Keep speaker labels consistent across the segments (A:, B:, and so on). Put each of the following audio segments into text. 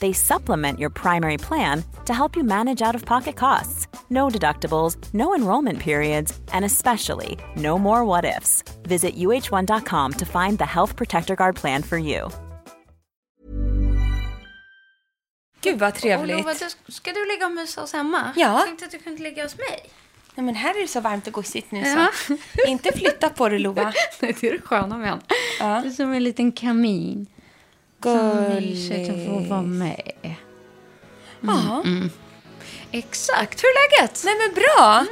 A: They supplement your primary plan to help you manage out of pocket costs. No deductibles, no enrollment periods, and especially no more what ifs. Visit uh1.com to find the Health Protector Guard plan for you.
B: Gud vad
C: Och
B: trevligt.
C: Lova, du- ska du ligga och mysa hos hemma?
B: Ja.
C: Jag tänkte att du kunde ligga hos mig.
B: Nej, men här är det så varmt och gosigt nu
C: Ja.
B: så. Inte flytta på dig Lova.
C: Nej, det är det sköna med henne.
B: Ja.
C: Det är som en liten kamin. Mysigt att få vara
B: Gulligt.
C: med. Mm,
B: Ja.
C: Exakt. Hur är läget?
B: Nej men bra.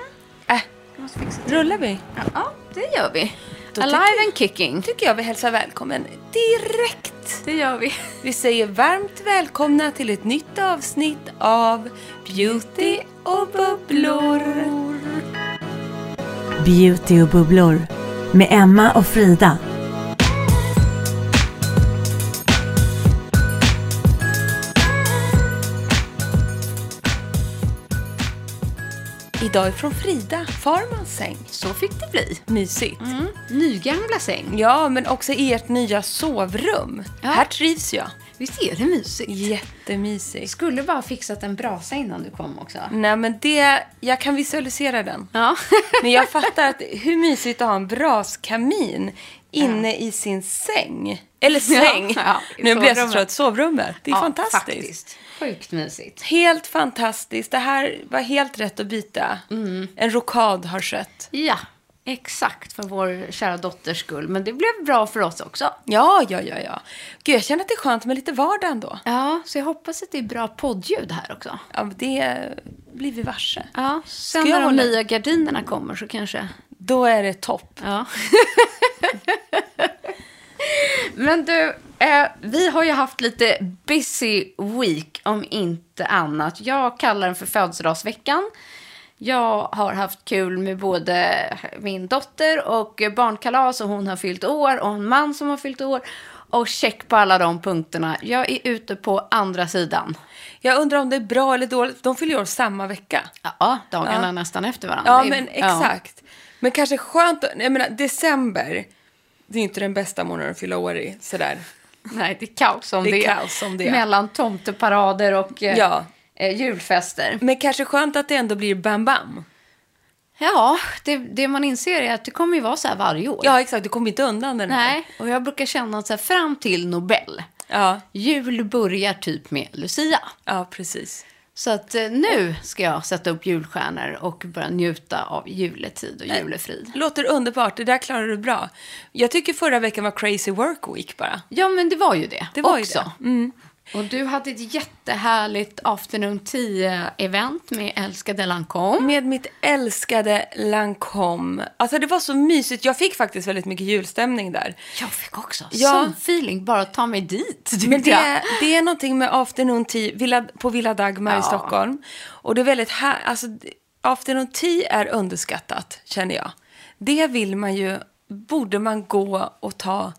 B: Äh,
C: Jag måste fixa till.
B: rullar vi?
C: Ja, det gör vi.
B: Då
C: Alive
B: tycker-
C: and kicking.
B: tycker jag vi hälsar välkommen direkt.
C: Det gör vi.
B: Vi säger varmt välkomna till ett nytt avsnitt av Beauty och bubblor.
D: Beauty och bubblor med Emma och Frida.
B: Idag är från Frida Farmans säng.
C: Så fick det bli.
B: Mysigt.
C: Mm. Nygamla säng.
B: Ja, men också i ert nya sovrum.
C: Ja.
B: Här trivs jag.
C: Visst är det mysigt?
B: Jättemysigt.
C: Skulle bara ha fixat en brasa innan du kom också.
B: Nej, men det... Jag kan visualisera den.
C: Ja.
B: Men jag fattar att hur mysigt att ha en braskamin inne i sin säng. Eller säng.
C: Ja, ja, i
B: nu blir jag så
C: sovrummet.
B: trött. Sovrummet. Det är fantastiskt.
C: Faktiskt. Sjukt mysigt.
B: Helt fantastiskt. Det här var helt rätt att byta.
C: Mm.
B: En rokad har skett.
C: Ja, exakt för vår kära dotters skull. Men det blev bra för oss också.
B: Ja, ja, ja, ja. Gud, jag känner att det är skönt med lite vardag ändå.
C: Ja, så jag hoppas att det är bra poddljud här också.
B: Ja, men det blir vi varse.
C: Ja, sen
B: Ska jag
C: när de
B: hålla-
C: nya gardinerna kommer så kanske.
B: Då är det topp.
C: Ja. Men du, eh, vi har ju haft lite busy week om inte annat. Jag kallar den för födelsedagsveckan. Jag har haft kul med både min dotter och barnkalas och hon har fyllt år och en man som har fyllt år. Och check på alla de punkterna. Jag är ute på andra sidan.
B: Jag undrar om det är bra eller dåligt. De fyller ju år samma vecka.
C: Ja, dagarna
B: Ja.
C: nästan efter varandra.
B: Ja,
C: Det är-
B: men exakt. Men kanske skönt att, jag menar, december, det är ju inte den bästa månaden att fylla år i, sådär.
C: Nej, det är kaos som
B: Det
C: det,
B: är kaos som det är.
C: Mellan tomteparader och eh,
B: Ja.
C: eh, julfester.
B: Men kanske skönt att det ändå blir bam-bam.
C: Ja, det, det man inser är att det kommer ju vara så här varje år.
B: Ja, exakt, du kommer inte undan den här.
C: Nej, och jag brukar känna att så här, fram till Nobel,
B: Ja,
C: jul börjar typ med Lucia.
B: ja, precis.
C: Så att eh, nu ska jag sätta upp julstjärnor och börja njuta av juletid och julefrid.
B: Låter underbart, det där klarar du bra. Jag tycker förra veckan var crazy work week bara.
C: Ja, men det var ju det,
B: Det var ju
C: också.
B: det. Mm.
C: Och du hade ett jättehärligt afternoon 10-event med älskade Lancome.
B: Med mitt älskade Lancome. Alltså det var så mysigt. Jag fick faktiskt väldigt mycket julstämning där.
C: Jag fick också
B: Ja.
C: sån feeling bara att ta mig dit. tyckte
B: Men
C: jag.
B: det, det är någonting med afternoon tea Villa, på Villa Dagmar
C: Ja.
B: i Stockholm. Och det är väldigt här, alltså afternoon tea är underskattat känner jag. Det vill man ju, borde man gå och ta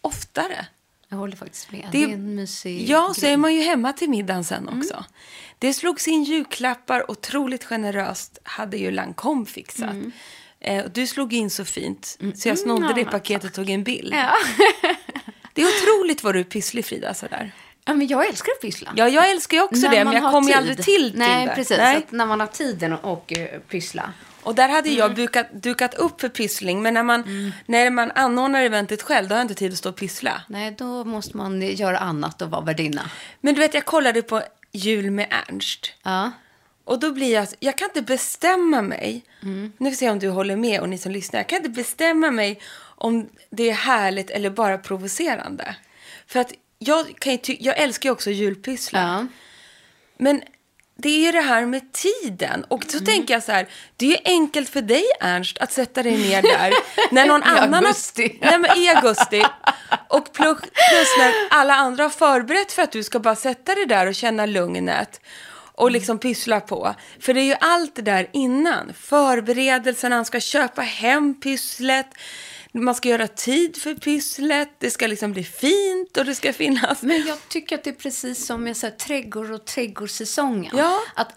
B: oftare.
C: Jag håller faktiskt med.
B: Det
C: Det
B: är-
C: är, en mysig
B: Ja, så
C: grej. Mm.
B: är man ju hemma till middagen sen också.
C: Mm.
B: Det slogs in julklappar otroligt generöst, hade ju Lancome fixat. Eh, och du slog in så fint, så jag snodde det paketet och tog en bild.
C: Ja.
B: Det är otroligt vad du är pysslig, Frida. Sådär.
C: ja, men jag älskar att pyssla.
B: Ja, jag älskar ju också
C: När
B: det,
C: man
B: men jag
C: har
B: kommer ju
C: tid.
B: aldrig till till
C: Nej,
B: det.
C: precis.
B: Nej.
C: Att när man har tiden och, och eh, pyssla.
B: Och där hade jag
C: Mm.
B: dukat, dukat upp för pyssling, men när man, när man anordnar eventet själv, då har jag inte tid att stå och pyssla.
C: Nej, då måste man göra annat och vara värdinna.
B: Men du vet, jag kollade på Jul med Ernst.
C: Ja.
B: Och då blir jag, jag kan inte bestämma mig.
C: Mm.
B: Nu får vi se om du håller med och ni som lyssnar. Jag kan inte bestämma mig om det är härligt eller bara provocerande. För att jag, kan ju ty- jag älskar ju också julpysslar.
C: ja.
B: Men det är ju det här med tiden. Och så
C: Mm.
B: tänker jag så här, det är ju enkelt för dig Ernst att sätta dig ner där när någon
C: I
B: annan
C: augusti.
B: Har, nej, men i augusti. Och plus, plus när alla andra har förberett för att du ska bara sätta dig där och känna lugnet
C: Mm.
B: och liksom pyssla på. För det är ju allt det där innan. Förberedelsen, han ska köpa hem pysslet. Man ska göra tid för pysslet. Det ska liksom bli fint och det ska finnas.
C: Men jag tycker att det är precis som med så här, trädgård och trädgårdssäsongen.
B: Ja.
C: Att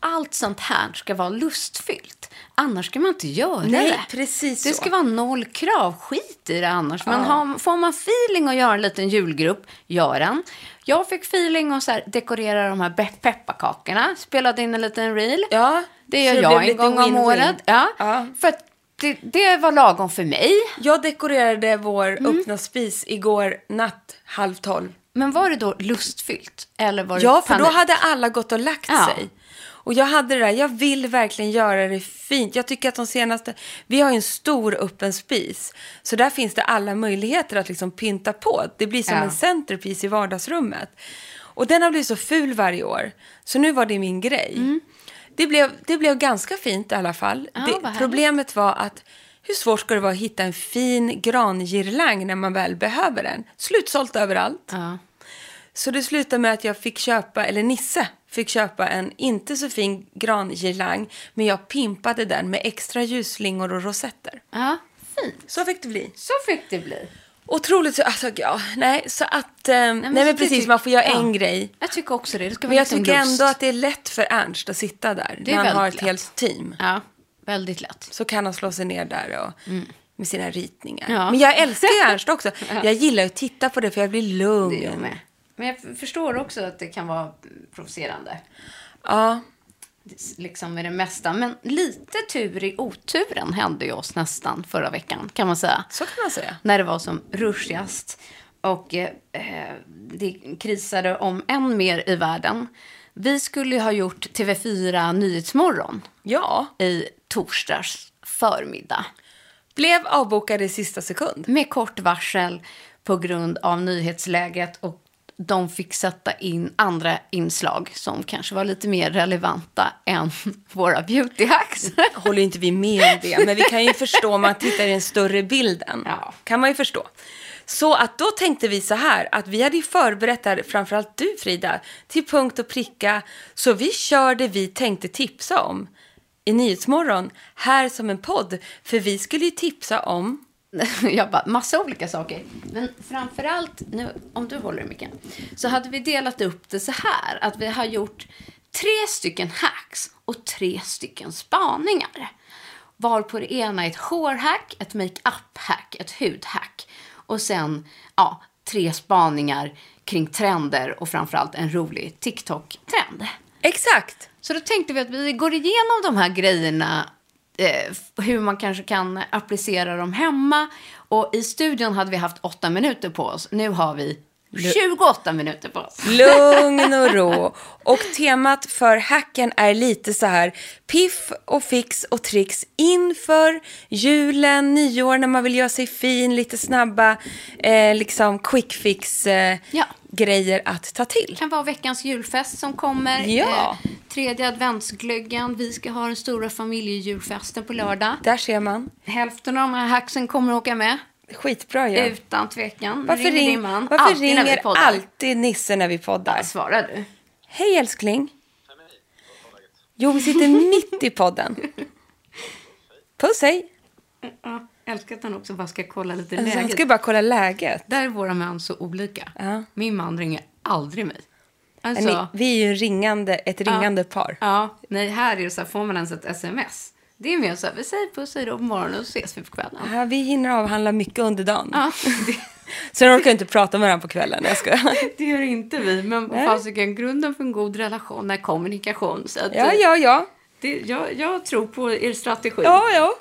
C: allt sånt här ska vara lustfyllt. Annars ska man inte göra
B: Nej,
C: det.
B: precis
C: Det
B: så.
C: ska vara noll krav. Skit i det annars. Men har, får man feeling att göra en liten julgrupp, gör den. Jag fick feeling att så här, dekorera de här pe- pepparkakorna. Spelade in en liten reel.
B: Ja,
C: det gör
B: så det blev
C: jag en
B: lite
C: gång om
B: win-win.
C: året. Ja,
B: Ja.
C: För att det, det var lagom för mig.
B: Jag dekorerade vår öppna spis igår natt halv tolv.
C: Men var det då lustfyllt? Eller var det
B: Ja, för då
C: panik?
B: hade alla gått och lagt
C: Ja.
B: sig. Och jag hade det där, jag vill verkligen göra det fint. Jag tycker att de senaste, vi har ju en stor öppen spis. Så där finns det alla möjligheter att liksom pynta på. Det blir som
C: Ja.
B: en centerpiece i vardagsrummet. Och den har blivit så ful varje år. Så nu var det min grej. Det, blev, det blev ganska fint i alla fall.
C: Mm. Ja, vad
B: det,
C: härligt.
B: problemet var att hur svårt ska det vara att hitta en fin grangirlang när man väl behöver den? Slutsålt överallt.
C: Ja.
B: Så det slutade med att jag fick köpa, eller Nisse fick köpa en inte så fin grangirlang, men jag pimpade den med extra ljusslingor och rosetter.
C: ja, fint.
B: Så fick det bli.
C: Så fick det bli.
B: Otroligt, så- alltså ja, nej, så att, eh, nej men,
C: men så det
B: precis,
C: tyck-
B: man får göra
C: ja.
B: en grej.
C: Jag tycker också det. Det ska vara
B: Men jag
C: lite om
B: tycker
C: lust.
B: ändå att det är lätt för Ernst att sitta där,
C: Det
B: när
C: är
B: han har ett
C: väldigt
B: helt team.
C: Ja, väldigt lätt.
B: Så kan han slå sig ner där och, med sina ritningar.
C: Mm. Ja.
B: Men jag älskar ju Ernst också. Jag gillar ju att titta på det för jag blir lugn.
C: Det är jag med. Men jag f- förstår också att det kan vara provocerande.
B: Ja.
C: Det s- Liksom med det mesta. Men lite tur i oturen hände ju oss nästan förra veckan, kan man säga.
B: Så kan man säga.
C: När det var som ruschigast. Och eh, eh, det krisade om än mer i världen. Vi skulle ju ha gjort TV4 Nyhetsmorgon
B: Ja.
C: i torsdags förmiddag.
B: Blev avbokad i sista sekund.
C: med kort varsel på grund av nyhetsläget och de fick sätta in andra inslag som kanske var lite mer relevanta än våra beauty hacks.
B: Håller inte vi med om det, men vi kan ju förstå om man tittar i den större bilden.
C: Ja.
B: Kan man ju förstå. Så att då tänkte vi så här, att vi hade ju förberett det här, framförallt du Frida, till punkt och pricka. Så vi kör det vi tänkte tipsa om i Nyhetsmorgon, här som en podd. För vi skulle ju tipsa om,
C: Jag bara, massa olika saker. Men framförallt, nu, om du håller i micken, så hade vi delat upp det så här att vi har gjort tre stycken hacks och tre stycken spaningar. Var på det ena är ett hårhack, ett makeup-hack, ett hudhack och sen ja, tre spaningar kring trender och framförallt en rolig TikTok-trend.
B: exakt,
C: Så då tänkte vi att vi går igenom de här grejerna, eh, f- hur man kanske kan applicera dem hemma. Och i studion hade vi haft åtta minuter på oss. Nu har vi 28 minuter på oss.
B: lugn och ro. Och temat för hacken är lite så här piff och fix och tricks inför julen, nyår när man vill göra sig fin, lite snabba eh, liksom quick fix eh,
C: Ja.
B: grejer att ta
C: Det
B: till.
C: kan vara veckans julfest som kommer.
B: Ja.
C: Eh, tredje adventsglöggen. Vi ska ha den stora familjejulfesten på lördag.
B: Där ser man.
C: Hälften av de här hacksen kommer att åka med.
B: Skitbra ju.
C: Utan tvekan.
B: Varför,
C: ringer
B: ring,
C: din man?
B: varför
C: Alltid när vi
B: ringer
C: poddar. Alltså-
B: alltid Nisse när vi poddar?
C: Svarar du?
B: Hej älskling. Jo, vi sitter mitt i podden. Puss hej.
C: Ja, älskar att han också bara ska kolla lite
B: Alltså, han
C: läget.
B: ska ju bara kolla läget.
C: Där är våra män så olika.
B: Ja.
C: Min man ringer aldrig mig.
B: Ja,
C: Alltså,
B: Ni, vi är ju en ringande, ett ringande par.
C: ja, nej, här är det så här, får man ens ett sms Det är mer så här, vi säger puss hej då på morgonen och ses vi på kvällen.
B: Ja, vi hinner avhandla mycket under dagen.
C: Ja, det,
B: Sen orkar vi inte prata med varandra på kvällen. Jag skojar.
C: det gör inte vi, men vad fasiken, grunden för en god relation är kommunikation. Så att,
B: Ja, ja, ja.
C: Det, jag, jag tror på er strategi.
B: Ja, ja.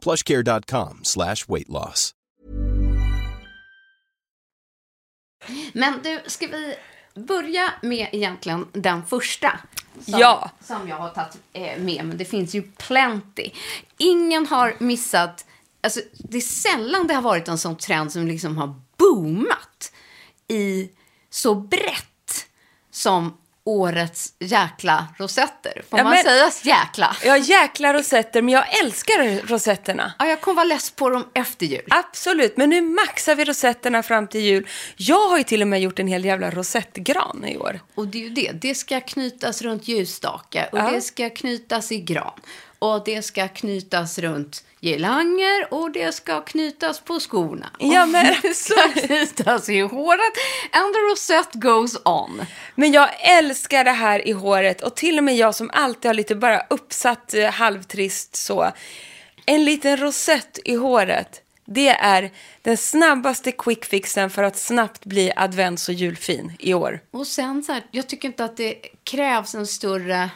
E: plushcare.com slash weight loss.
C: Men du, ska vi börja med egentligen den första? Som,
B: Ja.
C: som jag har tagit eh, med, men det finns ju plenty. Ingen har missat... Alltså, det är sällan det har varit en sån trend som liksom har boomat i så brett som årets jäkla rosetter. Får
B: Ja,
C: man
B: men-
C: säga jäkla?
B: Jag jäklar rosetter, men jag älskar rosetterna.
C: Ja, jag kommer vara less på dem efter jul.
B: Absolut, men nu maxar vi rosetterna fram till jul. Jag har ju till och med gjort en hel jävla rosettgran i år.
C: Och det är ju det. Det ska knytas runt ljusstake och
B: Ja.
C: det ska knytas i gran. Och det ska knytas runt girlanger och det ska knytas på skorna.
B: Ja, men
C: och det ska knytas i håret. And the rosette goes on.
B: Men jag älskar det här i håret och till och med jag som alltid har lite bara uppsatt eh, halvtrist så. En liten rosett i håret. Det är den snabbaste quick fixen för att snabbt bli advents och julfin i år.
C: Och sen så här, jag tycker inte att det krävs en större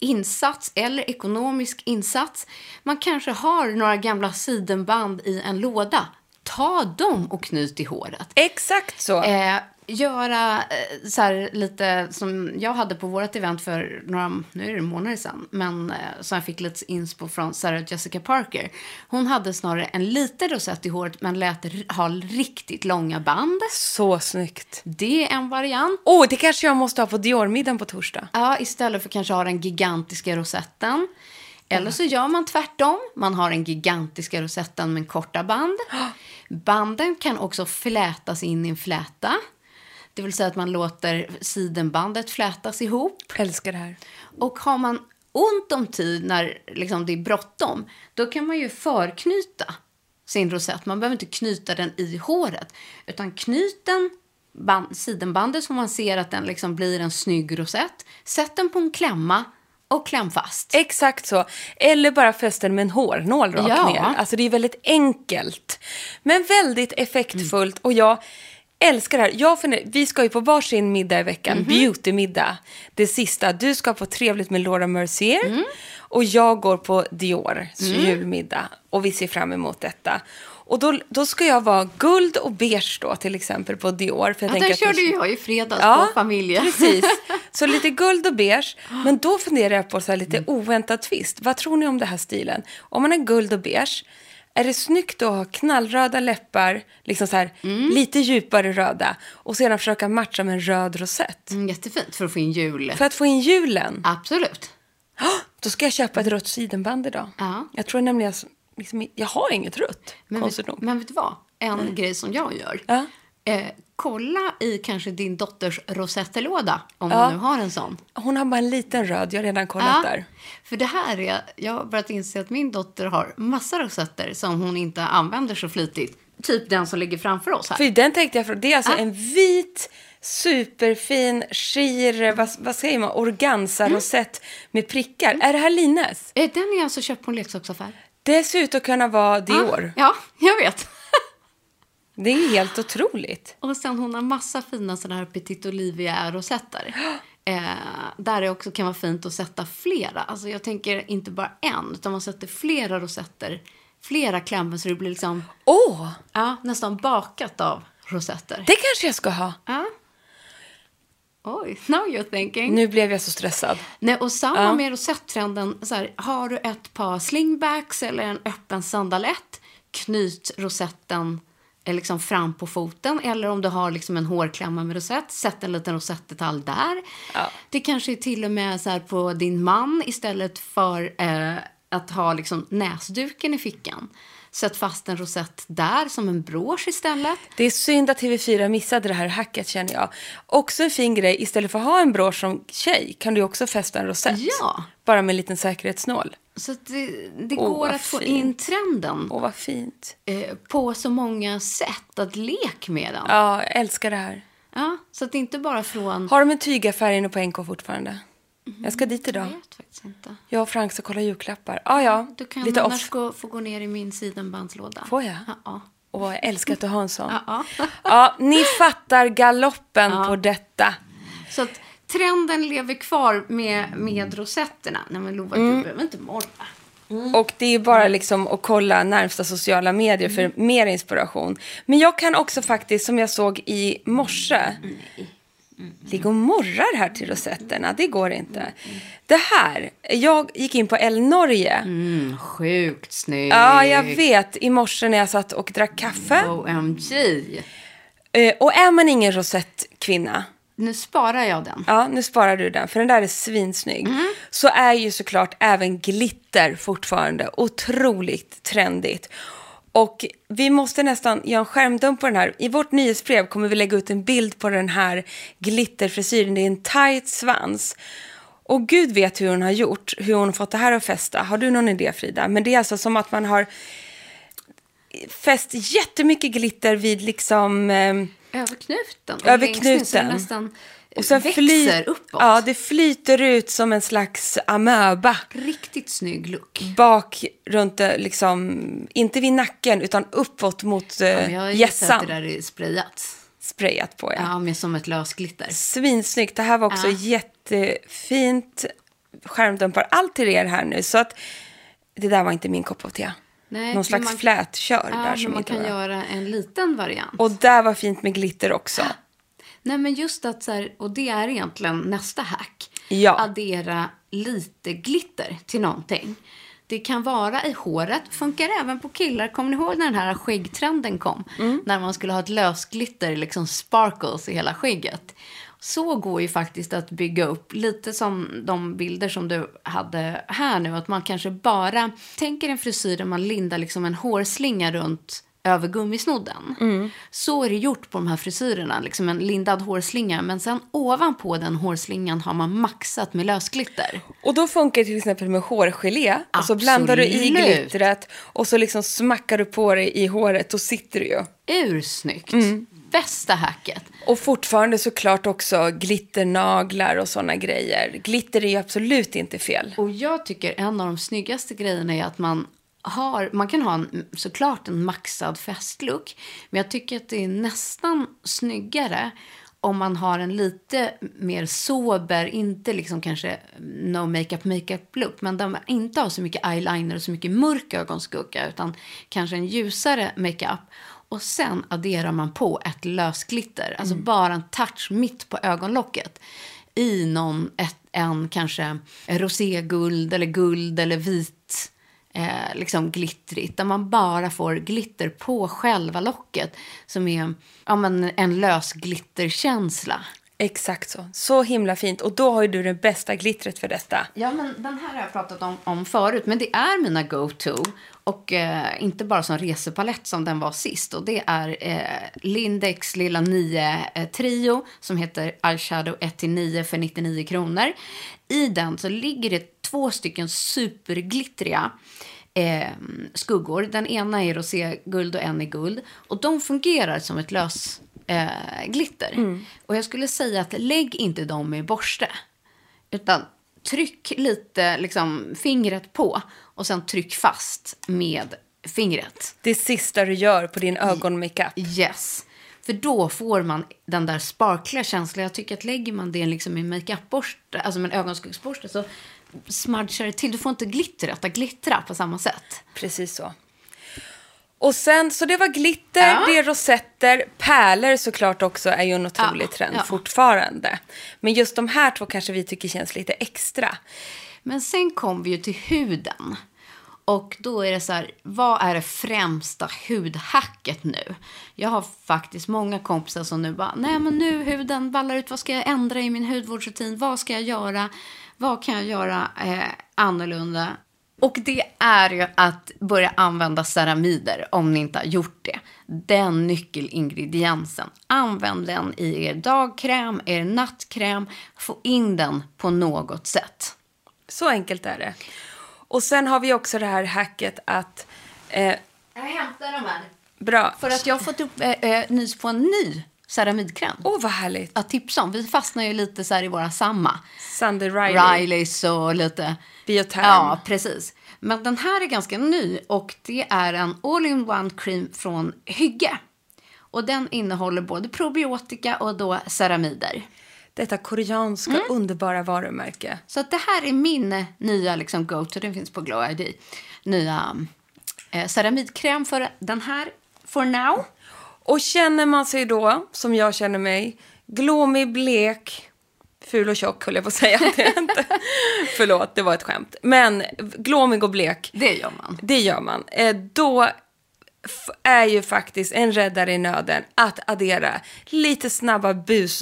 C: insats eller ekonomisk insats. Man kanske har några gamla sidenband i en låda. Ta dem och knyt i håret.
B: Exakt så.
C: Eh, göra eh, så här lite som jag hade på vårt event för några, nu är det månader sedan, men eh, som jag fick lite inspo från Sarah Jessica Parker. Hon hade snarare en liten rosett i håret men lät r- ha riktigt långa band.
B: Så snyggt.
C: Det är en variant.
B: Åh, oh, det kanske jag måste ha på Dior-middagen på torsdag.
C: Ja, istället för kanske ha den gigantiska rosetten. Eller så gör man tvärtom. Man har den gigantiska rosetten med korta band. Banden kan också flätas in i en fläta. Det vill säga att man låter sidenbandet flätas ihop.
B: Älskar det här.
C: Och har man ont om tid när liksom, det är bråttom, då kan man ju förknyta sin rosett. Man behöver inte knyta den i håret, utan knyt den band, sidenbandet så man ser att den liksom blir en snygg rosett. Sätt den på en klämma och kläm fast.
B: Exakt så. Eller bara fästen med en hårnål rakt
C: Ja.
B: ner. Alltså det är väldigt enkelt. Men väldigt effektfullt. Och jag älskar det här. Jag funderar, vi ska ju på varsin middag i veckan.
C: Mhm.
B: Beautymiddag. Det sista. Du ska på Trevligt med Laura Mercier.
C: Mm.
B: Och jag går på Dior julmiddag. Och vi ser fram emot detta. Och då, då ska jag vara guld och beige då till exempel på Dior. För jag tänker
C: Ja, den
B: att det-
C: körde ju jag i fredags på familjen.
B: Precis. Så lite guld och beige. Men då funderar jag på så här lite
C: Mm.
B: oväntad twist. Vad tror ni om den här stilen? Om man har guld och beige, är det snyggt då att ha knallröda läppar, liksom så här,
C: Mm.
B: lite djupare röda och sedan försöka matcha med en röd rosett?
C: Mm, jättefint för att få in jul.
B: För att få in julen,
C: Absolut.
B: då ska jag köpa ett rött sidenband idag.
C: Ja.
B: Jag tror nämligen jag, liksom, jag har inget rött,
C: Men
B: konstigt
C: vet,
B: nog. Mm.
C: men vet du vad? En grej som jag gör.
B: Ja.
C: Eh, kolla i kanske din dotters rosettlåda, om
B: Ja.
C: du nu har en sån.
B: Hon har bara en liten röd, jag har redan kollat där.
C: För det här är, jag har börjat inse att min dotter har massa rosetter som hon inte använder så flitigt. Typ den som ligger framför oss här.
B: För den tänkte jag från, det är alltså en vit superfin skir, vad, vad säger man, organza-rosett med prickar. Är det här Lines?
C: Eh, Den är alltså köpt på en leksaksaffär.
B: Det ser ut att kunna vara Dior.
C: Ja, jag vet.
B: Det är ju helt otroligt.
C: Och sen hon har massa fina sådana här Petit Olivia-rosetter. Eh, där det också kan vara fint att sätta flera. Alltså jag tänker inte bara en, utan man sätter flera rosetter. Flera klämmor så det blir liksom
B: Åh,
C: ja, nästan bakat av rosetter.
B: det kanske jag ska ha.
C: Ja. Oj, now you're thinking.
B: Nu blev jag så stressad.
C: Nej, och samma med rosetttrenden. Så här, har du ett par slingbacks eller en öppen sandalett, knyt rosetten eh, liksom fram på foten. Eller om du har liksom en hårklämma med rosett, sätt en liten rosettdetalj där. Det kanske är till och med så här på din man istället för eh, att ha liksom näsduken i fickan. Sätt fast en rosett där som en brosch istället.
B: Det är synd att TV4 missade det här hacket känner jag. Också en fin grej, istället för att ha en brosch som tjej kan du också fästa en rosett.
C: Ja.
B: Bara med en liten säkerhetsnål.
C: Så att det, det
B: Åh,
C: går
B: vad
C: att få
B: fint.
C: in trenden.
B: Åh, vad fint.
C: eh, på så många sätt att lek med den. Ja.
B: Ja, jag älskar det här.
C: så att det inte bara från...
B: Har de en tygaffär inne på NK fortfarande? Jag ska dit idag.
C: Mm-hmm. Jag vet faktiskt inte.
B: Jag och Frank ska kolla julklappar. Ah, ja,
C: Du kan
B: lite
C: annars
B: off.
C: gå, få gå ner i min sidenbandslåda.
B: Får jag?
C: Ja.
B: Åh, jag älskar att du har en sån.
C: Ja.
B: Ja, ni fattar galoppen på detta.
C: Så att trenden lever kvar med, med rosetterna. Nej men Lova,
B: Mm.
C: du behöver inte morra.
B: Och det är bara liksom att kolla närmsta sociala medier för
C: Mm.
B: mer inspiration. Men jag kan också faktiskt, som jag såg i morse,
C: Mm,
B: ligga och morrar här till rosetterna. Det går
C: Mm,
B: inte. Det här, jag gick in på El Norge.
C: Mm. Sjukt snygg.
B: Ja, jag vet. I morse när jag satt och drack kaffe.
C: Oh. OMG.
B: Eh, Och är man ingen rosettkvinna,
C: Nu sparar jag den.
B: ja nu sparar du den för den där är svinsnygg, så är ju såklart även glitter fortfarande otroligt trendigt. Och vi måste nästan göra en skärmdump på den här. I vårt nyhetsbrev kommer vi lägga ut en bild på den här glitterfrisyren. Det är en tight svans. Och gud vet hur hon har gjort, hur hon har fått det här att fästa. Har du någon idé Frida? Men det är alltså som att man har fäst jättemycket glitter vid liksom... ehm,
C: Över knuten. och
B: Över
C: längs ner så
B: knuten.
C: den nästan
B: och sen
C: växer
B: fly-
C: uppåt.
B: Ja, det flyter ut som en slags amöba.
C: Riktigt snygg look.
B: Bak runt, eh, liksom, inte vid nacken utan uppåt mot eh,
C: Ja, men jag gissar att
B: hjässan.
C: det där är sprayat.
B: Sprayat på, ja.
C: Ja, men som ett lösglitter.
B: Svinsnyggt. Det här var också
C: Ja.
B: jättefint. Skärmdumpar allt till er här nu. Så att det där var inte min kopp av te.
C: Nej,
B: Någon
C: men
B: slags
C: man-
B: flätkör
C: Ja,
B: där
C: men
B: som
C: man
B: inte
C: kan
B: var.
C: göra en liten variant.
B: Och där var fint med glitter också.
C: Nej, men just att så här, och det är egentligen nästa hack.
B: Ja.
C: Addera lite glitter till någonting. Det kan vara i håret, funkar även på killar. Kommer ni ihåg när den här skäggtrenden kom?
B: Mm.
C: När man skulle ha ett lösglitter, liksom sparkles i hela skägget. Så går ju faktiskt att bygga upp, lite som de bilder som du hade här nu, att man kanske bara tänker en frisyr där man lindar liksom en hårslinga runt över gummisnodden. Så är det gjort på de här frisyrerna, liksom en lindad hårslinga. Men sen ovanpå den hårslingan har man maxat med lösglitter.
B: Och då funkar det till exempel med hårgelé. Och så
C: Absolut.
B: blandar du i glittret och så liksom smackar du på det i håret. Då sitter det ju.
C: Ursnyggt! Bästa hacket.
B: Och fortfarande såklart också glitternaglar och sådana grejer. Glitter är ju absolut inte fel.
C: Och jag tycker en av de snyggaste grejerna är att man har, man kan ha en, såklart en maxad festlook, men jag tycker att det är nästan snyggare om man har en lite mer sober, inte liksom kanske no makeup makeup look, men där man inte har så mycket eyeliner och så mycket mörk ögonskugga, utan kanske en ljusare makeup. Och sen adderar man på ett lösglitter, alltså bara en touch mitt på ögonlocket i någon, ett, en kanske roséguld eller guld eller vit, eh, liksom glittrigt. Där man bara får glitter på själva locket som är ja, men en lös glitterkänsla.
B: Exakt så. Så himla fint. Och då har ju du det bästa glittret för detta.
C: Ja, men den här har jag pratat om, om förut, men det är mina go-to. Och eh, inte bara som resepalett som den var sist. Och det är eh, Lindex lilla 9 eh, Trio som heter Eyeshadow 1-9 för 99 kronor. I den så ligger det två stycken superglittriga eh, skuggor. Den ena är roséguld och en är guld. Och de fungerar som ett lös eh, glitter. Och jag skulle säga att lägg inte dem i borste. Utan tryck lite liksom, fingret på och sen tryck fast med fingret.
B: Det sista du gör på din ögonmakeup.
C: Yes. För då får man den där sparkliga känslan. Jag tycker att lägger man det liksom i en makeupborste, alltså med en ögonskuggsborste så smudgar det till. Du får inte glittret att glittra på samma sätt.
B: Precis så. Och sen, så det var glitter, det är rosetter, pärlor såklart också är ju en otrolig
C: Ja,
B: trend
C: ja.
B: fortfarande. Men just de här två kanske vi tycker känns lite extra.
C: Men sen kom vi ju till huden. Och då är det så här, vad är det främsta hudhacket nu? Jag har faktiskt många kompisar som nu bara, nej men nu huden ballar ut, vad ska jag ändra i min hudvårdsrutin? Vad ska jag göra? Vad kan jag göra eh, annorlunda? Och det är ju att börja använda ceramider om ni inte har gjort det. Den nyckelingrediensen. Använd den i er dagkräm, er nattkräm. Få in den på något sätt.
B: Så enkelt är det. Och sen har vi också det här hacket att... Eh,
C: Jag hämtar dem här.
B: bra.
C: För att jag har fått upp eh, eh, nys på en ny ceramidkräm.
B: Åh, vad härligt.
C: Att tipsa om. Vi fastnar ju lite så här i våra samma.
B: Sandy Riley.
C: Rileys och lite...
B: Bioterm.
C: Ja, precis. Men den här är ganska ny och det är en all-in-one cream från Hygge. Och den innehåller både probiotika och då ceramider.
B: Detta koreanska
C: Mm.
B: underbara varumärke.
C: Så att det här är min nya liksom, go-to. Den finns på Glow ID. Nya eh, ceramidkräm för den här for now.
B: Och känner man sig då, som jag känner mig, glåmig, blek, ful och tjock höll jag på att säga. Det är inte. Förlåt, det var ett skämt. Men glåmig och blek,
C: Det gör man.
B: det gör man. Eh, då f- är ju faktiskt en räddare i nöden att addera lite snabba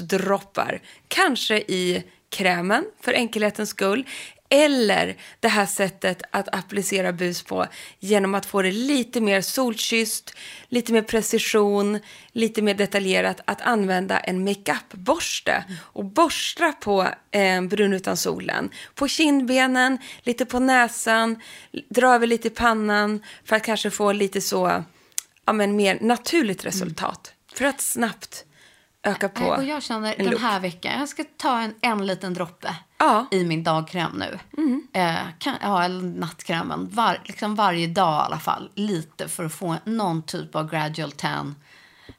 B: busdroppar. Kanske i krämen för enkelhetens skull. Eller det här sättet att applicera bus på genom att få det lite mer solkysst, lite mer precision, lite mer detaljerat. Att använda en makeupborste och borsta på eh, brun utan solen. På kindbenen, lite på näsan, l- dra över lite i pannan för att kanske få lite så ja, men mer naturligt resultat för att snabbt öka på
C: Mm. Eh, Och jag känner
B: en
C: den
B: look.
C: här veckan, jag ska ta en, en liten droppe
B: Ja. Mm.
C: i min dagkräm nu. Eh, kan, ja, eller nattkrämen. Var, liksom varje dag i alla fall. Lite för att få någon typ av gradual tan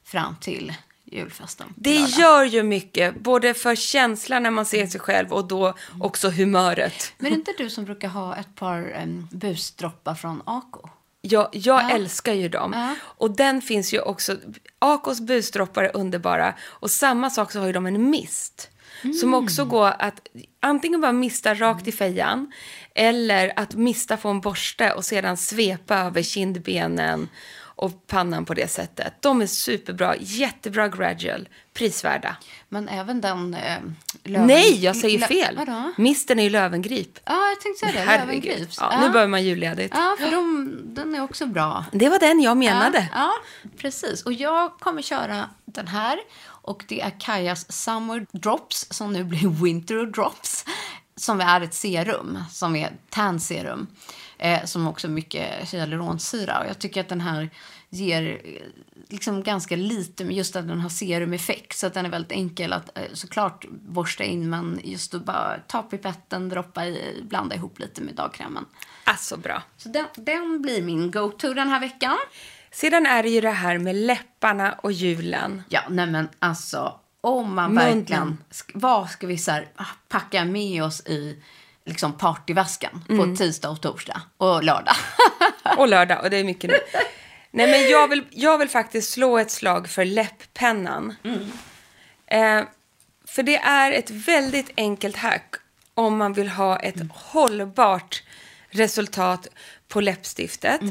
C: fram till julfesten.
B: Det gör ju mycket, både för känslan när man ser sig själv och då
C: Mm.
B: också humöret.
C: Men är det inte du som brukar ha ett par um, busdroppar från Ako?
B: Jag, jag älskar ju dem.
C: Ja.
B: Och den finns ju också, Akos busdroppar är underbara och samma sak så har ju de en mist.
C: Mm.
B: Som också går att antingen bara mista rakt i fejan eller att mista på en borste och sedan svepa över kindbenen och pannan på det sättet. De är superbra, jättebra gradual, prisvärda.
C: Men även den... eh, löven-
B: Nej, jag säger
C: lö-
B: fel!
C: Vadå?
B: Misten är ju lövengrip.
C: Ja, jag tänkte säga det. Lövengrips.
B: Ja, Nu börjar man julledigt.
C: Ja, för de, den är också bra.
B: Det var den jag menade.
C: Ja, ja, precis. Och jag kommer köra den här. Och det är Kajas Summer Drops som nu blir Winter Drops. Som är ett serum, som är tan serum. Eh, som också är mycket hyaluronsyra. Och jag tycker att den här ger eh, liksom ganska lite, men just att den har serumeffekt. Så att den är väldigt enkel att eh, såklart borsta in, men just att bara ta pipetten, droppa i, blanda ihop lite med dagkrämen.
B: Alltså bra.
C: Så den, den blir min go-to den här veckan.
B: Sedan är det ju det här med läpparna och julen.
C: Ja, nej men alltså om man
B: Munnen.
C: verkligen... sk- Vad ska vi så här, ah, packa med oss i liksom partyväskan på tisdag och torsdag och lördag?
B: Och lördag, och det är mycket nu. Nej, men jag vill, jag vill faktiskt slå ett slag för läpppennan. Eh, för det är ett väldigt enkelt hack om man vill ha ett hållbart resultat på läppstiftet.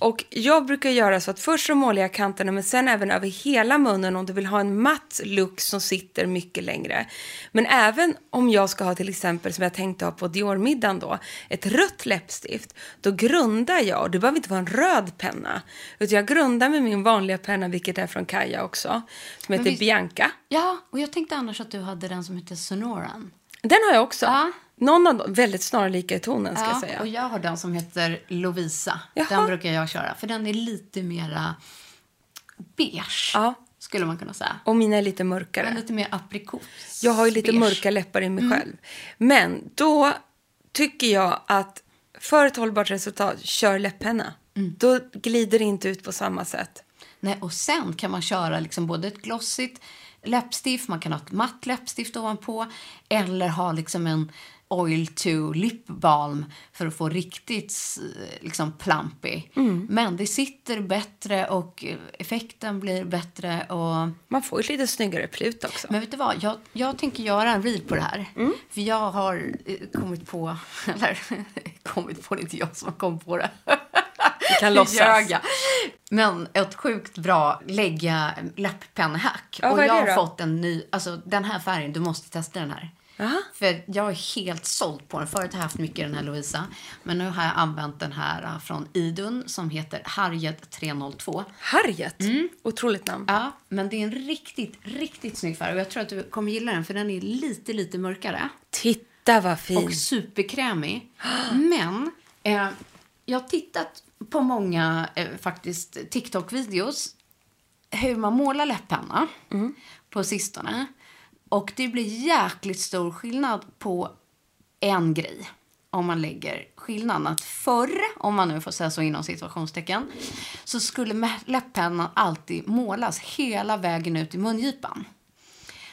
B: Och jag brukar göra så att först så målar jag kanterna men sen även över hela munnen om du vill ha en matt look som sitter mycket längre. Men även om jag ska ha till exempel som jag tänkte ha på Dior-middagen då, ett rött läppstift, då grundar jag, och det behöver inte vara en röd penna, utan jag grundar med min vanliga penna, vilket är från Kaja också, som heter
C: visst-
B: Bianca.
C: Ja, och jag tänkte annars att du hade den som heter Sonoran.
B: Den har jag också.
C: Ja.
B: Någon av dem, väldigt snarlika i tonen ska
C: ja,
B: jag säga.
C: Och jag har den som heter Lovisa.
B: Jaha.
C: Den brukar jag köra, för den är lite mera beige,
B: Ja.
C: skulle man kunna säga.
B: Och mina är lite mörkare.
C: Men Mm. lite mer aprikos.
B: Jag har ju lite
C: beige.
B: mörka läppar i mig själv. Men då tycker jag att för ett hållbart resultat, kör läpppenna.
C: Mm.
B: Då glider det inte ut på samma sätt.
C: Nej, och sen kan man köra liksom både ett glossigt läppstift, man kan ha ett matt läppstift ovanpå eller ha liksom en oil to lip balm för att få riktigt eh, liksom plumpy. Men det sitter bättre och eh, effekten blir bättre och
B: Man får ju ett lite snyggare plut också. Mm.
C: Men vet du vad, jag, jag tänker göra en reel på det här. För jag har eh, kommit på, eller kommit på, det är inte jag som har kommit på det. Du
B: kan låtsas.
C: Men ett sjukt bra lägga läpppennehack.
B: Ja,
C: och
B: vad är
C: jag
B: det
C: har
B: då?
C: fått en ny, alltså den här färgen, du måste testa den här.
B: Jaha.
C: För jag är helt såld på den. Förut har jag haft mycket den här Lovisa. Men nu har jag använt den här eh, från Idun som heter Harriet 302.
B: Harriet, otroligt namn.
C: Mm. Ja, men det är en riktigt, riktigt snygg färg. Och jag tror att du kommer gilla den för den är lite, lite mörkare.
B: Titta vad fin.
C: Och superkrämig. Men eh, jag har tittat på många eh, faktiskt TikTok-videos hur man målar läpparna på sistone. Och det blir jäkligt stor skillnad på en grej om man lägger skillnaden. Att förr, om man nu får säga så inom situationstecken, så skulle mä- läpppennan alltid målas hela vägen ut i mungipan.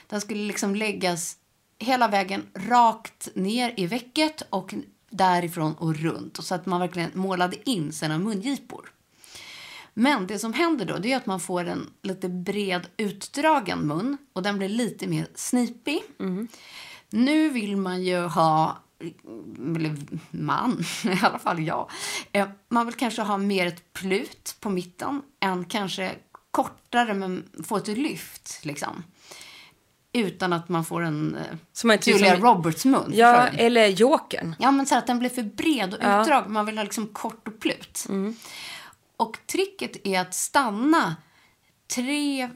C: Den skulle liksom läggas hela vägen rakt ner i väcket och därifrån och runt. Och så att man verkligen målade in sina mungipor. Men det som händer då det är att man får en lite bred utdragen mun och den blir lite mer snipig.
B: Mm.
C: Nu vill man ju ha, eller man, i alla fall jag, eh, man vill kanske ha mer ett plut på mitten än kanske kortare men få ett lyft liksom. Utan att man får en eh,
B: Så man inte-
C: Julia
B: som-
C: Roberts-mun.
B: Ja,
C: förstår du?
B: eller Jokern.
C: Ja, men så att den blir för bred och utdragen. Man vill ha liksom kort och plut. Och tricket är att stanna 3-4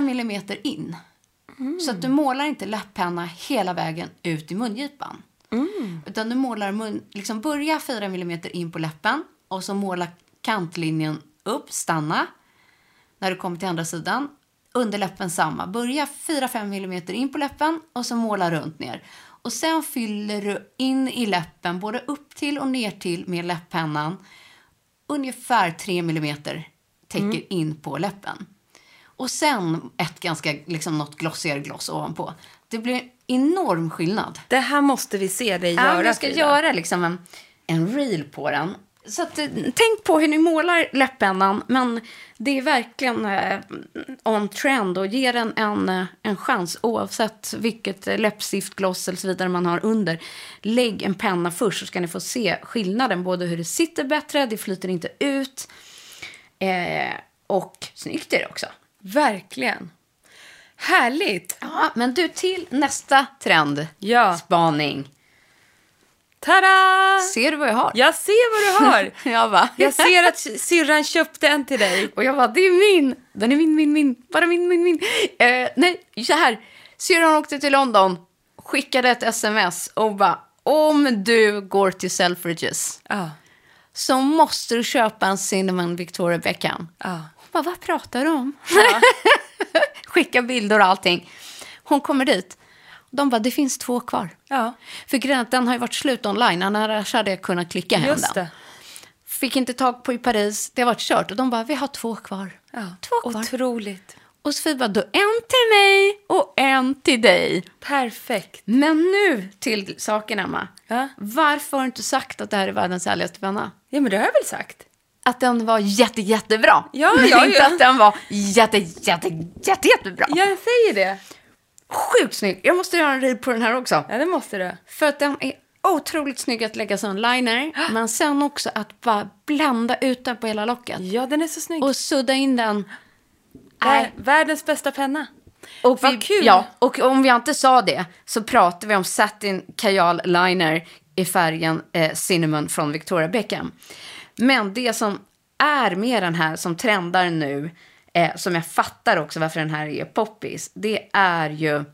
C: millimeter in. Så att du målar inte läpppenna hela vägen ut i mungipan. Utan du målar mun, liksom börja 4 millimeter in på läppen och så måla kantlinjen upp, stanna. När du kommer till andra sidan, under läppen samma. Börja 4-5 millimeter in på läppen och så måla runt ner. Och sen fyller du in i läppen, både upp till och ner till med läpppennan. Ungefär 3 millimeter täcker in på läppen. Och sen ett ganska, liksom något glossigare gloss ovanpå. Det blir enorm skillnad.
B: Det här måste vi se dig
C: Ja,
B: göra,
C: men jag ska
B: Frida.
C: göra liksom en, en reel på den. Så att, eh, tänk på hur ni målar läppennan, men det är verkligen eh, on trend och ger den en, eh, en chans oavsett vilket eh, läppstift, gloss eller så vidare man har under. Lägg en penna först så ska ni få se skillnaden, både hur det sitter bättre, det flyter inte ut eh, och snyggt är det också.
B: Verkligen. Härligt.
C: Ja, men du till nästa trend,
B: Ja.
C: spaning.
B: Tada!
C: Ser du vad jag har?
B: Jag ser vad du har.
C: Jag bara...
B: Jag ser att syrran köpte en till dig.
C: Och jag bara, det är min! Den är min, min, min. Bara min, min, min. Eh, nej, så här. Syrran åkte till London, skickade ett sms och bara, om du går till Selfridges
B: Ja.
C: så måste du köpa en Cinnamon Victoria Beckham.
B: Ja.
C: Hon bara, vad pratar du om? Skicka bilder och allting. Hon kommer dit. De bara, det finns två kvar.
B: Ja.
C: För grejen är att den har ju varit slut online, annars hade jag kunnat klicka hem
B: Just
C: den
B: det.
C: fick inte tag på i Paris. Det har varit kört. Och de bara, vi har två kvar. Två kvar.
B: Otroligt.
C: och Sofie bara, då en till mig och en till dig.
B: Perfekt.
C: Men nu till saken, Emma.
B: Ja.
C: Varför har du inte sagt att det här är världens härligaste penna?
B: Ja, men det har jag väl sagt?
C: Att den var jätte, jättebra.
B: Ja,
C: Men
B: ja,
C: inte
B: ja.
C: att den var jätte, jätte, jätte, jättebra.
B: Jag säger det.
C: Sjukt snygg. Jag måste göra en reel på den här också.
B: Ja, det måste du.
C: För att den är Otroligt snygg att lägga som liner, men sen också att bara blanda ut den på hela locket.
B: Ja, den är så snygg.
C: Och sudda in den.
B: Vär- Världens bästa penna.
C: Och
B: Vad
C: vi,
B: kul.
C: Ja, och om vi inte sa det så pratar vi om satin kajal liner i färgen eh, cinnamon från Victoria Beckham. Men det som är med den här som trendar nu, eh, som jag fattar också varför den här är poppis, det är ju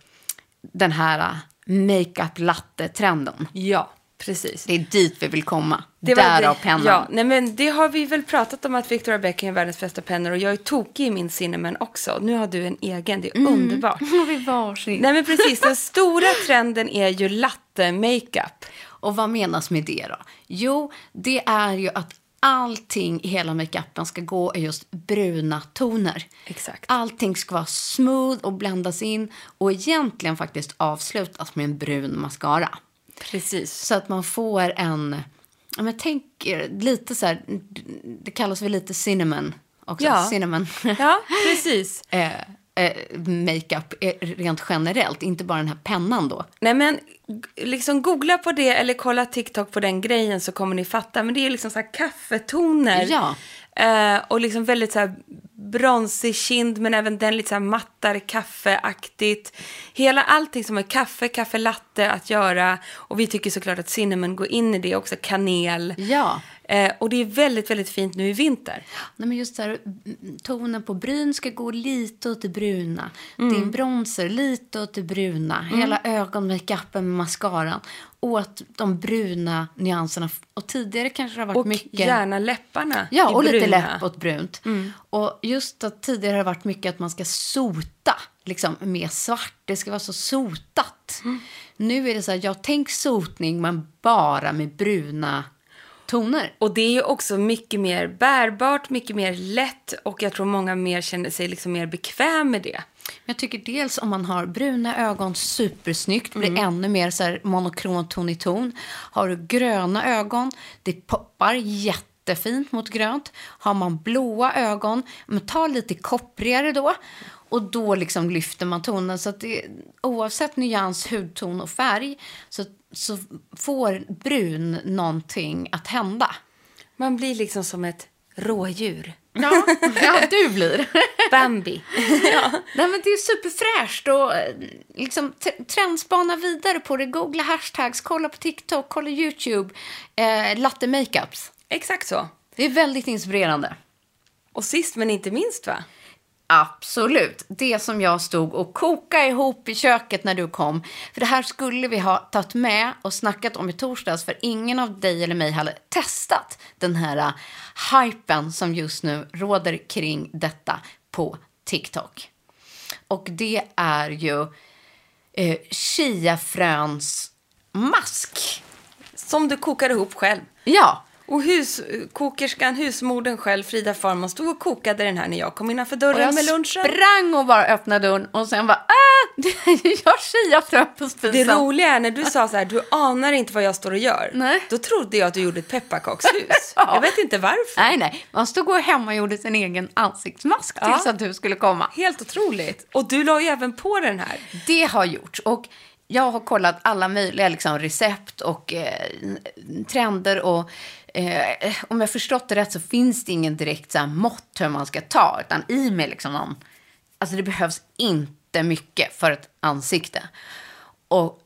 C: den här eh, makeup latte-trenden.
B: Ja, precis.
C: Det är dit vi vill komma.
B: Det var
C: Därav
B: det-
C: pennan.
B: Ja, nej men det har vi väl pratat om att Victoria Beckham är världens bästa pennor och jag är tokig i min cinnamon också. Nu har du en egen, det är underbart.
C: vi varsin.
B: Nej men precis, den stora trenden är ju latte-makeup.
C: Och vad menas med det då? Jo, det är ju att allting i hela makeupen ska gå i just bruna toner.
B: Exakt.
C: Allting ska vara smooth och bländas in och egentligen faktiskt avslutas med en brun mascara.
B: Precis.
C: Så att man får en, ja men tänk er lite så här, det kallas väl lite cinnamon också,
B: Ja.
C: cinnamon.
B: Ja, precis.
C: eh, eh, makeup eh, rent generellt, inte bara den här pennan då.
B: Nej men g- liksom googla på det eller kolla TikTok på den grejen så kommer ni fatta. Men det är liksom så här kaffetoner.
C: Ja.
B: Eh, och liksom väldigt så här bronsig kind men även den lite så här mattare kaffeaktigt. Hela allting som har kaffe, kaffelatte att göra. Och vi tycker såklart att cinnamon går in i det också, kanel.
C: Ja.
B: Eh, och det är väldigt, väldigt fint nu i vinter.
C: Nej, men just så här, mm, tonen på bryn ska gå lite åt det bruna.
B: Mm.
C: Din bronzer lite åt det bruna. Hela ögonmakeupen med mascaran. Åt de bruna nyanserna. Och tidigare kanske det har varit
B: Och
C: mycket...
B: gärna läpparna
C: Ja,
B: i
C: och lite
B: bruna. Mm.
C: läpp åt brunt. Och just att tidigare har det varit mycket att man ska sota liksom, med svart. Det ska vara så sotat.
B: Mm.
C: Nu är det så här, jag tänk sotning men bara med bruna toner.
B: Och det är ju också mycket mer bärbart, mycket mer lätt och jag tror många mer känner sig liksom mer bekväm med det.
C: Jag tycker dels om man har bruna ögon, supersnyggt, blir ännu mer så här monokron ton i ton. Har du gröna ögon, det poppar jättefint mot grönt. Har man blåa ögon, men ta lite kopprigare då. Och då liksom lyfter man tonen. Så att det, oavsett nyans, hudton och färg så, så får brun någonting att hända.
B: Man blir liksom som ett rådjur.
C: Ja, ja du blir.
B: Bambi.
C: Nej, men det är superfräscht och eh, liksom, t- trendspana vidare på det. Googla hashtags, kolla på TikTok, kolla YouTube. Eh, latte makeups.
B: Exakt så.
C: Det är väldigt inspirerande.
B: Och sist men inte minst va?
C: Absolut. Det som jag stod och kokade ihop i köket när du kom. För det här skulle vi ha tagit med och snackat om i torsdags för ingen av dig eller mig hade testat den här eh, hypen som just nu råder kring detta på TikTok. Och det är ju eh, chiafröns mask.
B: Som du kokar ihop själv.
C: Ja,
B: Och huskokerskan, husmodern själv, Frida Farman, stod och kokade den här när jag kom innanför
C: Och
B: dörren
C: jag
B: med lunchen.
C: sprang och bara öppnade dörren och sen bara ah, jag har chiafrön på spisen.
B: Det roliga är när du sa så här, du anar inte vad jag står och gör.
C: Nej.
B: Då trodde jag att du gjorde ett pepparkakshus.
C: Ja. Äh.
B: Jag vet inte varför.
C: Nej, nej. Man stod och hemma och gjorde sin egen ansiktsmask tills
B: Ja.
C: att du skulle komma.
B: Helt otroligt. Och du la ju även på den här.
C: Det har gjorts. Och jag har kollat alla möjliga liksom, recept och eh, trender. Och, eh, om jag förstått det rätt så finns det ingen direkt så här, mått hur man ska ta. Utan i med liksom någon... Alltså det behövs inte mycket för ett ansikte. Och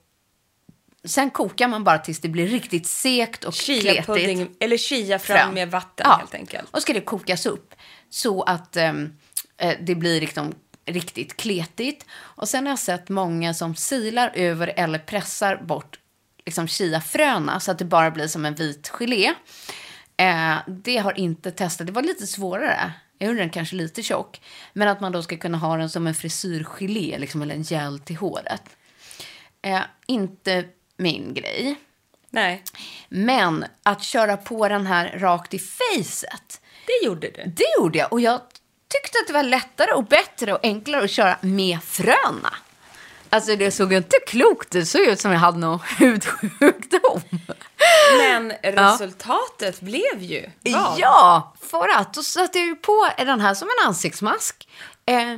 C: sen kokar man bara tills det blir riktigt sekt och kletigt.
B: Chia-pudding, eller chia
C: fram.
B: fram med vatten
C: Ja.
B: helt enkelt.
C: Och ska det kokas upp så att ehm, eh, det blir liksom riktigt kletigt. Och sen har jag sett många som silar över eller pressar bort liksom chiafröna så att det bara blir som en vit gelé. Eh, det har inte testat. Det var lite svårare. Jag gjorde den kanske lite tjock. Men att man då ska kunna ha den som en frisyrgelé liksom, eller en gel till håret. Eh, inte min grej.
B: Nej,
C: Men att köra på den här rakt i facet,
B: det gjorde du.
C: det gjorde jag. Och jag tyckte att det var lättare och bättre och enklare att köra med fröna. Alltså det såg ju inte klokt ut. Det såg ut som jag hade någon hudsjukdom.
B: Men resultatet blev ju vad?
C: Ja, för att då satte jag ju på den här som en ansiktsmask. Eh,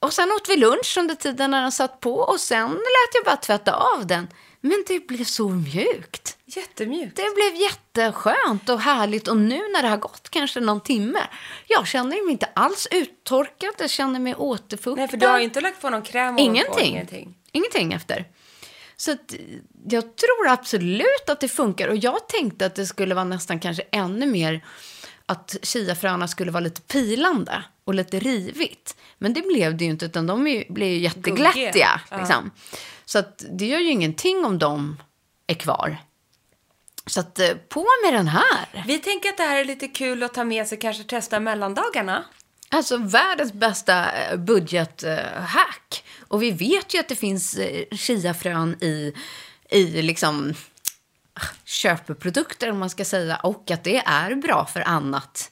C: och sen åt vi lunch under tiden när den satt på och sen lät jag bara tvätta av den. Men det blev så mjukt.
B: Jättemjukt.
C: Det blev jätteskönt och härligt. Och nu när det har gått kanske någon timme, jag känner mig inte alls uttorkad. Jag känner mig återfuktad.
B: Nej, för du har ju inte lagt på någon kräm ovanpå,
C: Ingenting.
B: ingenting.
C: Ingenting efter. Så att, eh, jag tror absolut att det funkar. Och jag tänkte att det skulle vara nästan kanske ännu mer att chiafröna skulle vara lite pilande och lite rivigt. Men det blev det ju inte, utan de är ju, blev ju jätteglättiga.
B: Guggiga.
C: Liksom. Så att, det gör ju ingenting om de är kvar. Så att, eh, på med den här!
B: Vi tänker att det här är lite kul att ta med sig, kanske testa mellandagarna.
C: Alltså världens bästa eh, budgethack. Och vi vet ju att det finns eh, chiafrön i, i liksom ah, köpprodukter om man ska säga och att det är bra för annat.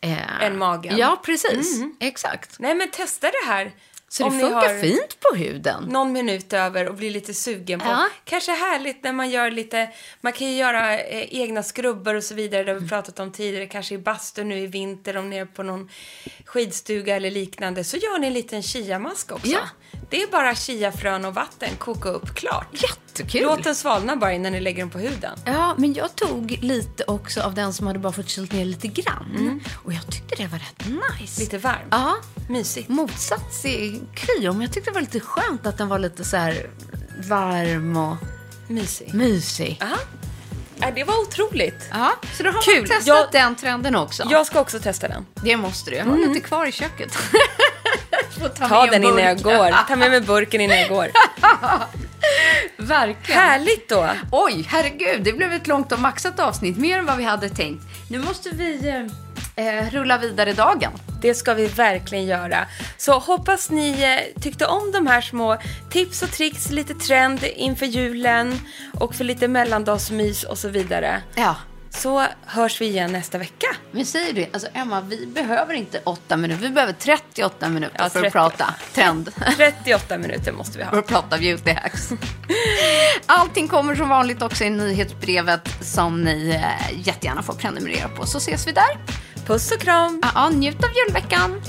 C: Eh,
B: Än magen.
C: Ja, precis. Exakt.
B: Nej, men testa det här.
C: Så
B: Om
C: det
B: ni
C: funkar
B: har Mm.
C: fint på huden.
B: någon minut över och blir lite sugen på.
C: Ja.
B: Kanske härligt när man gör lite, man kan ju göra eh, egna skrubbar och så vidare, det har vi
C: Mm.
B: pratat om tidigare, kanske i bastu nu i vinter om ni är på någon skidstuga eller liknande, så gör ni en liten chiamask också.
C: Ja.
B: Det är bara chiafrön och vatten, koka upp klart.
C: Jättekul.
B: Låt den svalna bara innan ni lägger den på huden.
C: Ja, men jag tog lite också av den som hade bara fått kylt ner lite grann. Och jag tyckte det var rätt nice.
B: Mm. Lite varm.
C: Ja. Mm.
B: Mysigt.
C: Motsats i Kryo, men jag tyckte det var lite skönt att den var lite så här varm och
B: Mysigt.
C: mysig.
B: Ja. Äh, Det var otroligt.
C: Mm. Ja, så då har
B: Kul.
C: man testat
B: Jag-
C: den trenden också.
B: Jag ska också testa den.
C: Det måste du. Jag har lite kvar i köket. Mm. Får
B: Ta
C: med
B: den innan jag
C: burken.
B: går. Ta med mig burken innan jag går.
C: Verkligen.
B: Härligt då.
C: Oj, herregud, det blev ett långt och maxat avsnitt. Mer än vad vi hade tänkt. Nu måste vi eh, eh, rulla vidare dagen.
B: Det ska vi verkligen göra. Så hoppas ni eh, tyckte om de här små tips och tricks, lite trend inför julen och för lite mellandagsmys och så vidare.
C: Ja.
B: Så hörs vi igen nästa vecka.
C: Men säger du, alltså Emma, vi behöver inte åtta minuter. Vi behöver 38 minuter
B: Ja,
C: för
B: 30.
C: att prata trend.
B: 38 minuter måste vi
C: för
B: ha.
C: att prata beauty hacks. Allting kommer som vanligt också i nyhetsbrevet som ni eh, jättegärna får prenumerera på. Så ses vi där.
B: Puss och kram!
C: Ja, ja, njut av julveckan.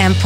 D: En